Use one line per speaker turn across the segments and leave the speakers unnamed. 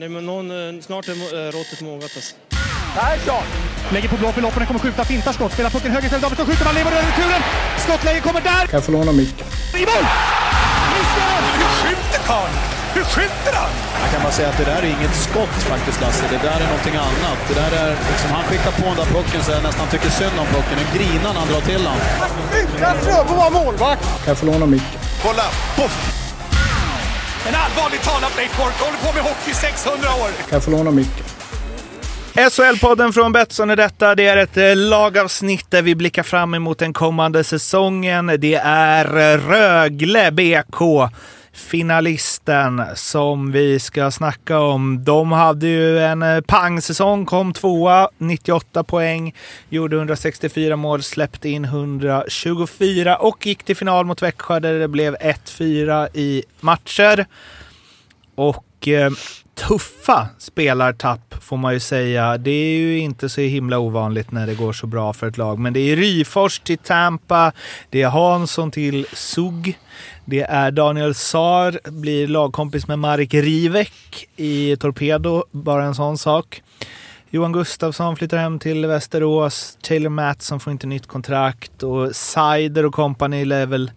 Nej, men någon, eh, snart är må- eh, råttet mogat. Alltså.
Persson! Lägger på blå för loppen, kommer skjuta, fintar skott, spelar pucken höger istället, Davidsson skjuter, man lever över returen! Skottläge kommer där!
Kan jag få låna micken?
I mål! Hur skjuter karln? Hur skjuter han?
Jag kan bara säga att det där är inget skott faktiskt, Lasse. Det där är någonting annat. Det där är liksom, han skickar på den där pucken så jag nästan tycker synd om pucken. Nu grinar när han drar till den.
Utan Fröbo var målvakt!
Kan jag få låna micken?
Kolla! Poff!
En allvarligt talat Blake Bork, håller på med hockey 600 år!
Kan jag få låna micken?
SHL-podden från Betsson är detta. Det är ett eh, lagavsnitt där vi blickar fram emot den kommande säsongen. Det är eh, Rögle BK, finalisten, som vi ska snacka om. De hade ju en eh, pangsäsong, kom tvåa, 98 poäng, gjorde 164 mål, släppte in 124 och gick till final mot Växjö där det blev 1-4 i matcher. Och eh, tuffa spelartapp får man ju säga. Det är ju inte så himla ovanligt när det går så bra för ett lag. Men det är Ryfors till Tampa, det är Hansson till Sug. Det är Daniel Saar, blir lagkompis med Marek Rivek i Torpedo, bara en sån sak. Johan Gustafsson flyttar hem till Västerås, Taylor Mattsson får inte nytt kontrakt och Seider och company lär väl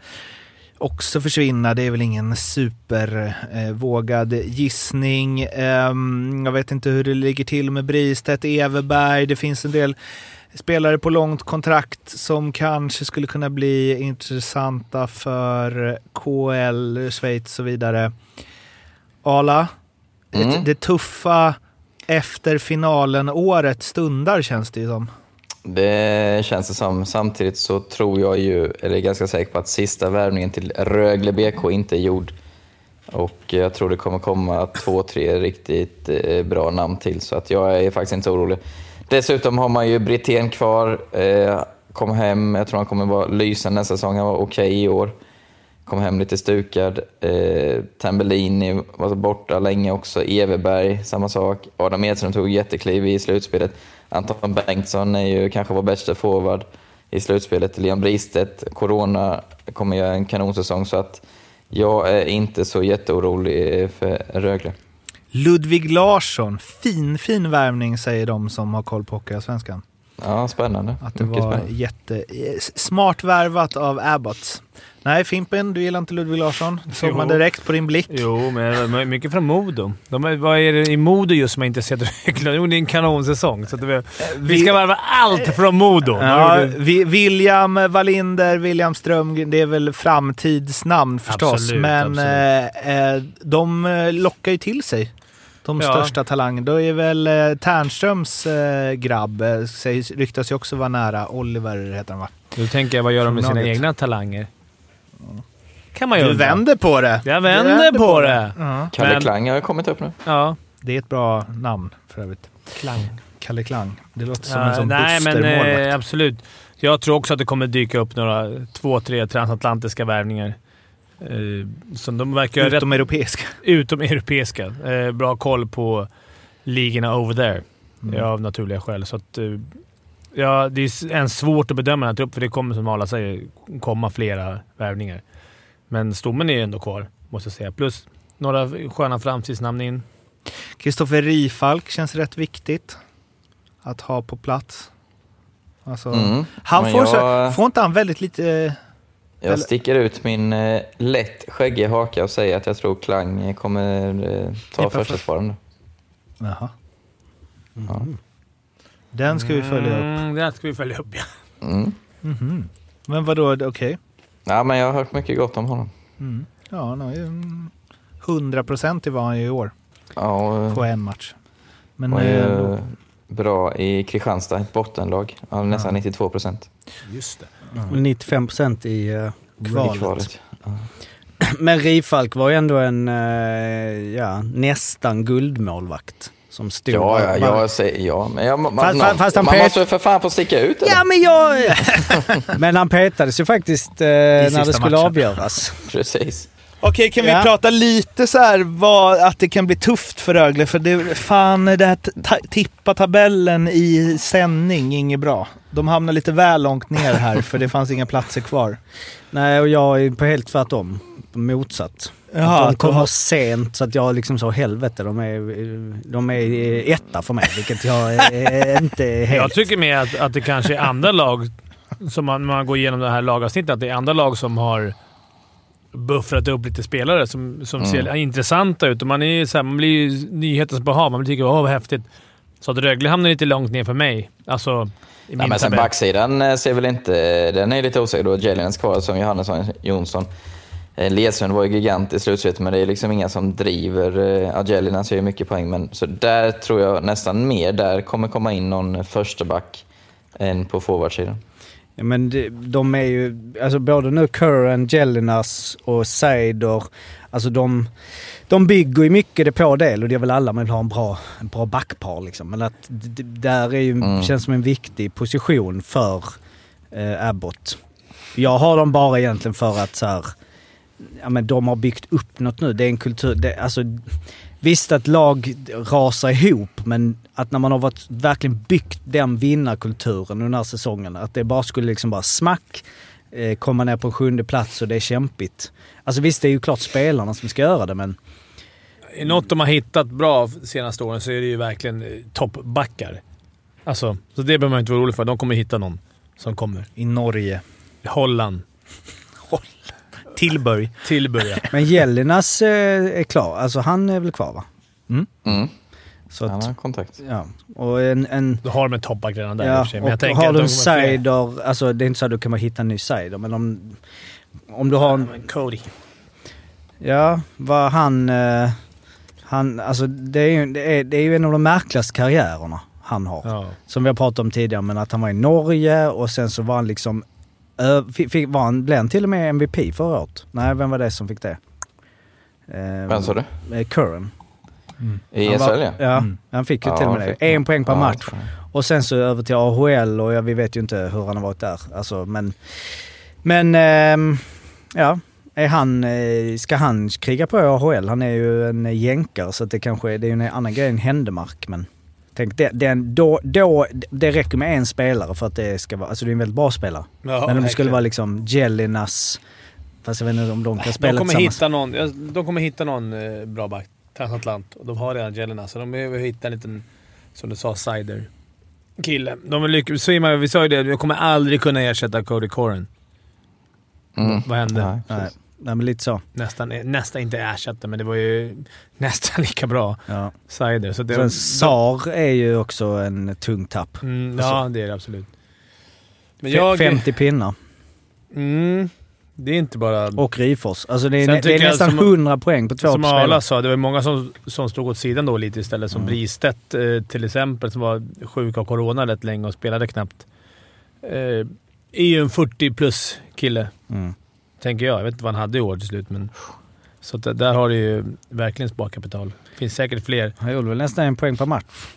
också försvinna. Det är väl ingen supervågad gissning. Ehm, jag vet inte hur det ligger till med Bristedt, Everberg. Det finns en del spelare på långt kontrakt som kanske skulle kunna bli intressanta för KL, Schweiz och så vidare. Ala, det, det tuffa efter finalen-året stundar känns det ju som.
Det känns det som. Samtidigt så tror jag ju, eller är ganska säker på att sista värvningen till Rögle BK inte är gjord. Och jag tror det kommer komma två, tre riktigt eh, bra namn till, så att jag är faktiskt inte så orolig. Dessutom har man ju Brithén kvar, eh, kom hem, jag tror han kommer vara lysande nästa säsong, han var okej i år. Kom hem lite stukad. Eh, Tambellini var borta länge också. Everberg, samma sak. Adam Edström tog jättekliv i slutspelet. Anton Bengtsson är ju kanske vår bästa forward i slutspelet. Leon Bristedt, Corona kommer göra en kanonsäsong så att jag är inte så jätteorolig eh, för Rögle.
Ludvig Larsson, fin, fin värvning säger de som har koll på Hockeyallsvenskan.
Ja, spännande.
Att det
Mycket
var
spännande.
jätte... eh, Smart värvat av Abbott. Nej, Fimpen, du gillar inte Ludvig Larsson. Det såg
Jo.
man direkt på din blick.
Jo, men det var mycket från Modo. De är, vad är det i Modo just som jag inte ser rökla? Jo, det är en kanonsäsong. Så att vi, vi ska varva allt från Modo!
Ja, Vi- William Wallinder, William Strömgren, det är väl framtidsnamn förstås.
Absolut,
men eh, eh, de eh, lockar ju till sig de
Ja.
största talangerna. Då är väl eh, Ternströms eh, grabb, eh, sägs, ryktas ju också vara nära. Oliver heter han va?
Nu tänker jag, vad gör de med sina
Från laget.
egna talanger? kan man ju
Du
undra.
vänder på det!
Jag
Du
vänder på det!
Ja,
Kalle
Men-
Klang har kommit upp nu.
Ja.
det är ett bra namn för övrigt.
Klang.
Kalle Klang. Det låter som
Ja,
en sån
nej, men
bustermålvakt.
eh, absolut. Jag tror också att det kommer dyka upp några två, tre transatlantiska värvningar. Eh, som de verkar ha rätt
Utom europeiska.
utom europeiska. Eh, bra koll på ligorna over there,
Mm.
eh, av naturliga skäl. Så att, eh, ja, det är s- än svårt att bedöma den här truppen, för det kommer som alla säger komma flera värvningar. Men stommen är ju ändå kvar, måste jag säga. Plus några sköna framtidsnamn in.
Kristoffer Rifalk känns rätt viktigt att ha på plats. Alltså,
Mm.
han
Men
får, så,
jag-
får inte han väldigt lite... eh,
Jag
Eller-
sticker ut min eh, lätt skäggiga haka och säger att jag tror Klang kommer eh, ta
Tippa för-
första sparen.
Jaha. Mm.
Ja.
Den ska vi följa upp.
Mm, det här ska vi följa upp, ja.
Mm.
Mhm. Men vadå, okej.
Ja, men jag har hört mycket gott om honom.
Mm. Ja, han har ju mm, 100% i vad han gör i år
Ja, och,
på en match. Men
och
eh,
är
ändå.
eh, bra i Kristianstad, ett bottenlag. Ja, nästan 92 procent
Just det.
Och 95 procent i eh,
i
kvalet.
kvalet.
Men Rifalk var ju ändå en eh, ja, nästan guldmålvakt. Som stod
Ja, ja,
där.
jag säger ja. Men jag, man,
Fast-
någon,
fast han
man
pet-
måste för fan få sticka ut eller?
Ja, men jag... men han petades ju faktiskt eh, när
sista
det skulle
matchen.
avgöras.
Precis.
Okej, kan
Ja.
vi prata lite så här vad, att det kan bli tufft för Rögle? För det, fan, det här t- ta, tippa tabellen i sändning, inget bra. De hamnar lite väl långt ner här för det fanns inga platser kvar.
Nej, och jag är på helt tvärtom. motsatt.
Jaha,
att de
att du
kommer
har-
sent så att jag liksom så helvete, de är, de är etta för mig, vilket jag eh, inte är
Jag
helt...
tycker mer att, att det kanske är andra lag, som man, man går igenom det här lagavsnittet, att det är andra lag som har buffrat upp lite spelare som, som
Mm.
ser intressanta ut. Och man, är ju så här, man blir ju nyhetens behag. Man tycker åh vad häftigt. Så att Rögle hamnar lite långt ner för mig. Alltså, i
Nej,
min
men sen
tabell.
backsidan eh, ser väl inte... Den är lite osäker då. Jalenens kvar som Johannesson, Jonsson. Eh, Ledsund var ju gigant i slutspelet, men det är liksom inga som driver. eh, Ja, Jalenens gör ju mycket poäng, men så där tror jag nästan mer. Där kommer komma in någon försteback än på forwardsidan.
Ja, men de, de är ju, alltså både nu Curran, Jellinas och Seider, alltså de, de bygger ju mycket det på det och det är väl alla man vill ha en bra, en bra backpar liksom. Men att d- d- där är ju,
Mm.
känns som en viktig position för eh, Abbott. Jag har dem bara egentligen för att så här, ja men de har byggt upp något nu. Det är en kultur, det, alltså Visst att lag rasar ihop, men att när man har varit, verkligen byggt den vinnarkulturen under den här säsongen, att det bara skulle liksom bara smack, eh, komma ner på en sjunde plats och det är kämpigt. Alltså visst, det är ju klart spelarna som ska göra det, men
Är något de har hittat bra senaste åren så är det ju verkligen eh, toppbackar. Alltså, så det behöver man inte vara orolig för. De kommer hitta någon som kommer.
I Norge.
Holland,
Tillberg.
Tillberga.
men Jellinas eh, är klar. Alltså han är väl kvar va?
Mm.
Så
Han
att,
har kontakt.
ja. Och en... en
Då har de en toppback redan där i och
ja,
för sig, men jag
och
tänker
har
att
du
de
en
kommer fler.
cider, alltså det är inte så att du kan bara hitta en ny cider, men om, om du har en...
Cody.
Ja, vad han... Eh, han alltså det är, ju, det, är, det är ju en av de märkligaste karriärerna han har.
Ja.
Som vi har pratat om tidigare, men att han var i Norge och sen så var han liksom... ö- Fick, fick, var han, blev han till och med MVP förra året? Nej, vem var det som fick det? Eh,
Vem sa du?
eh, Curran.
I
Han
SHL,
var-
ja.
Ja, han fick ju
Ja,
till och med
han
det.
fick
En poäng per
Ja,
match.
så.
Och sen så över till AHL och ja, vi vet ju inte hur han har varit där. Alltså, men... Men... ehm, ja. Är han, eh, ska han kriga på i AHL? Han är ju en jänkare så att det kanske är- det är ju en annan grej än händemark. Men tänk det, den, då, då, det räcker med en spelare för att det ska vara... Alltså det är en väldigt bra spelare. men om det skulle vara liksom Jellinas... Fast jag vet inte om de kan spela
De kommer,
tillsammans.
hitta någon, ja, de kommer hitta någon eh, bra back. Transatlant. Och de har redan Jelena, så de behöver hitta en liten, som du sa, cider. Kille. De vill lyckas. Simon, vi sa ju det, de kommer aldrig kunna ersätta Cody Coren.
Mm.
Vad hände?
Nej,
Nej,
precis.
nej, men lite så.
Nästan, eh, nästan inte ersätta, men det var ju nästan lika bra.
Ja.
Cider. Så det,
Sen Sar är ju också en tung tapp.
mm, ja, det är det absolut. Men
alltså. Fe-
jag...
50 pinnar.
Mm, det är inte bara...
Och Ryfors. Alltså det är, nä-
Sen
det
tycker
är
jag
nästan
som-
100 poäng på två
Som
spelare.
Arla sa, det var många som, som stod åt sidan då lite istället. Som Bristedt eh, till exempel, som var sjuk av corona rätt länge och spelade knappt. Eh, är ju en 40 plus kille,
Mm.
tänker jag. Jag vet inte vad han hade i år till slut, men... Så att där- där har du ju verkligen sparkapital. finns säkert fler.
Han gjorde väl nästan en poäng per match.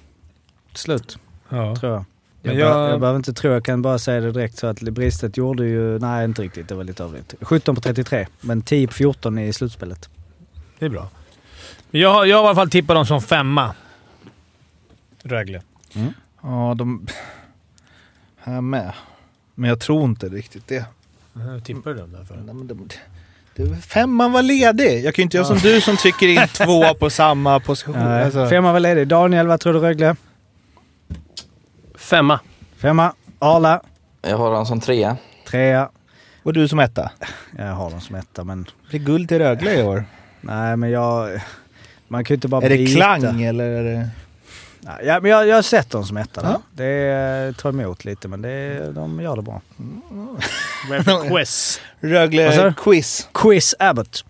Till slut,
Ja.
tror jag. Jag,
Men
jag...
jag-
jag behöver inte tro, jag kan bara säga det direkt så att Bristet gjorde ju... Nej, inte riktigt. Det var lite överdrivet. 17 på 33, men 10 på 14 i slutspelet.
Det är bra. Men jag, har- jag har i alla fall tippat dem som femma. Rögle.
Ja, de... Här med. Men jag tror inte riktigt det.
Hur tippar du dem därför?
Nej, men de- det var- Femman var ledig. Jag kan ju inte göra som du som trycker in två på samma position.
Oh,
Nej.
Alltså.
Eh, Femma var ledig. Daniel, vad tror du Rögle?
Femma.
Femma. Arla.
Jag har honom som trea.
Trea.
Och du som etta.
Jag har dem som etta, men...
Det blir guld till Rögle i år.
Nej, men jag... Man kan ju inte bara
Är det
bita.
klang eller? Är det...
Nej, Ja, men jag, jag har sett dem som etta. där.
Ja.
Det eh, tar emot lite, men det, de gör det bra.
Rögle Quiz.
Vad sa du?
Rögle-quiz.
Quiz Abbott.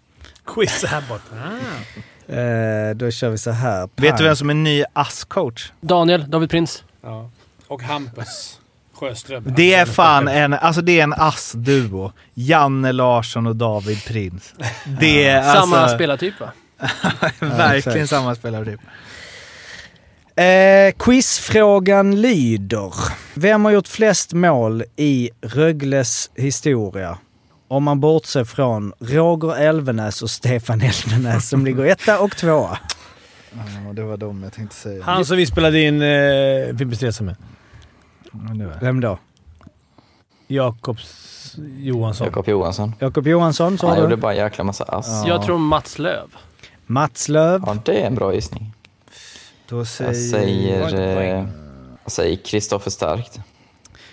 Quiz här borta. Ah.
Eh, då kör vi så här.
Vet du vem som är ny ASS-coach?
Daniel, David Prins.
Ja. Och Hampus Sjöström.
Det är fan en, alltså det är en ASS-duo. Janne Larsson och David Prins. Det är alltså,
Samma spelartyp va?
verkligen
exakt.
samma spelartyp.
Eh, quizfrågan lyder. Vem har gjort flest mål i Rögles historia? Om man bortser från Roger Elvenäs och Stefan Elvenäs som ligger etta och tvåa.
Ja, det var de jag tänkte säga.
Han som vi spelade in eh, Fimpens Resa med.
Men det var-
Vem då?
Jakobs Johansson.
Jakob Johansson.
Jakob Johansson, så
Han
har
gjorde
du.
bara en jäkla massa ass.
Ja.
Jag tror Mats Löv.
Mats Löv.
Ja, det är en bra gissning.
Då
Jag säger... eh, Jag säger Kristoffer Starkt.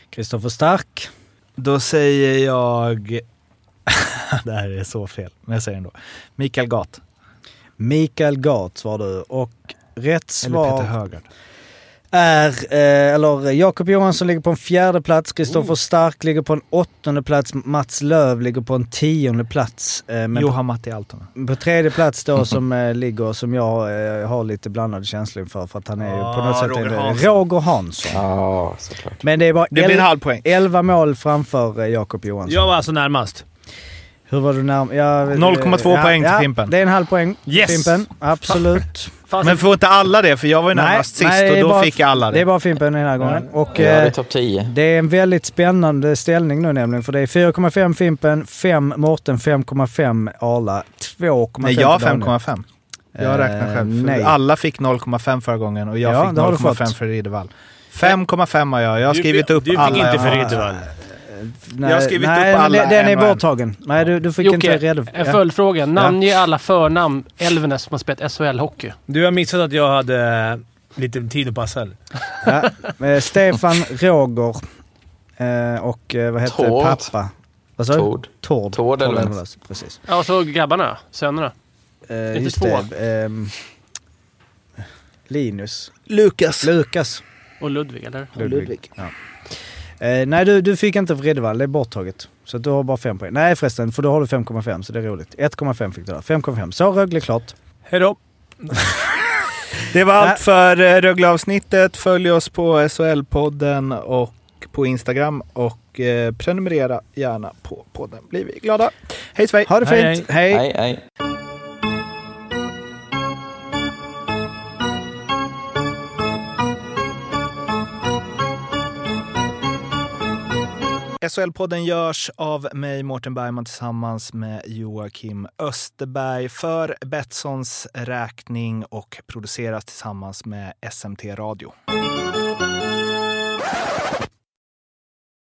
Kristoffer Stark.
Då säger jag... det här är så fel, men jag säger ändå. Mikael Gat.
Mikael Gart var du. Och rätt
Eller Peter
svar
Högard.
är... Eh, eller Jakob Johansson ligger på en fjärde plats. Kristoffer Stark ligger på en åttonde plats. Mats Löv ligger på en tionde plats. Eh, men
Johan Matti Altonen.
På tredje plats då som eh, ligger, som jag eh, har lite blandade känslor för, för att han är ju på något
Ah,
sätt
Roger
en,
Hansson.
Roger Hansson.
Ja, såklart.
Men det är bara
Det blir en
el-
halv poäng.
11 mål framför eh, Jakob Johansson.
Jag var alltså närmast.
Hur var du närm- ja, eh,
0,2 poäng till Fimpen.
Det är en halv poäng till
Yes!
Fimpen, absolut.
Fast
Men får inte alla det? För jag var ju närmast sist
det är
och då
bara-
fick jag alla
Det är
det.
bara Fimpen den här gången. Och,
Ja, det är
eh,
topp 10.
det är en väldigt spännande ställning nu nämligen, för det är 4,5 Fimpen, 5 Mårten, 5,5 Arla, 2,5
Nej, jag har
till Daniel.
5,5. Jag räknar själv.
Eh,
För
nej.
Alla fick 0,5 förra gången och jag
Ja,
fick
det har du fått.
0,5 för Riddervall. 5,5 har jag. Jag har
Du-
skrivit upp
du fick
alla
inte
jag
för
har.
Riddervall.
Nej,
Jag har skrivit
nej,
upp
men
alla
Den
en
är
och en.
borttagen. Nej, du, du fick inte
Jocke,
reda
en följdfråga. Namnge alla förnamn Elvenes som har spelat SHL-hockey.
Du har missat att jag hade eh, lite tid att passa. eller?
ja. Eh, Stefan Roger eh, och eh, vad hette
Tord.
pappa? Vad sa du?
Tord.
Tord.
Tord Elfven.
Elfven, Precis.
Ja, och så grabbarna. Sönerna.
Eh,
Inte
just
två.
det. ehm, Linus.
Lukas.
Lukas.
Och Ludvig, eller?
Ludvig. Ja. Eh, nej, du, du fick inte Vridevall. Det är borttaget. Så du har bara fem poäng. Nej förresten, för då har du 5,5 så det är roligt. 1,5 fick du där. 5,5. Så Rögle klart.
Hejdå!
Det var allt för eh, Rögle-avsnittet. Följ oss på SHL-podden och på Instagram och eh, prenumerera gärna på podden. blir vi glada. Hej svej!
Ha det fint.
Hej,
hej.
Hej, hej.
SHL-podden görs av mig, Mårten Bergman, tillsammans med Joakim Österberg för Betssons räkning och produceras tillsammans med SMT Radio.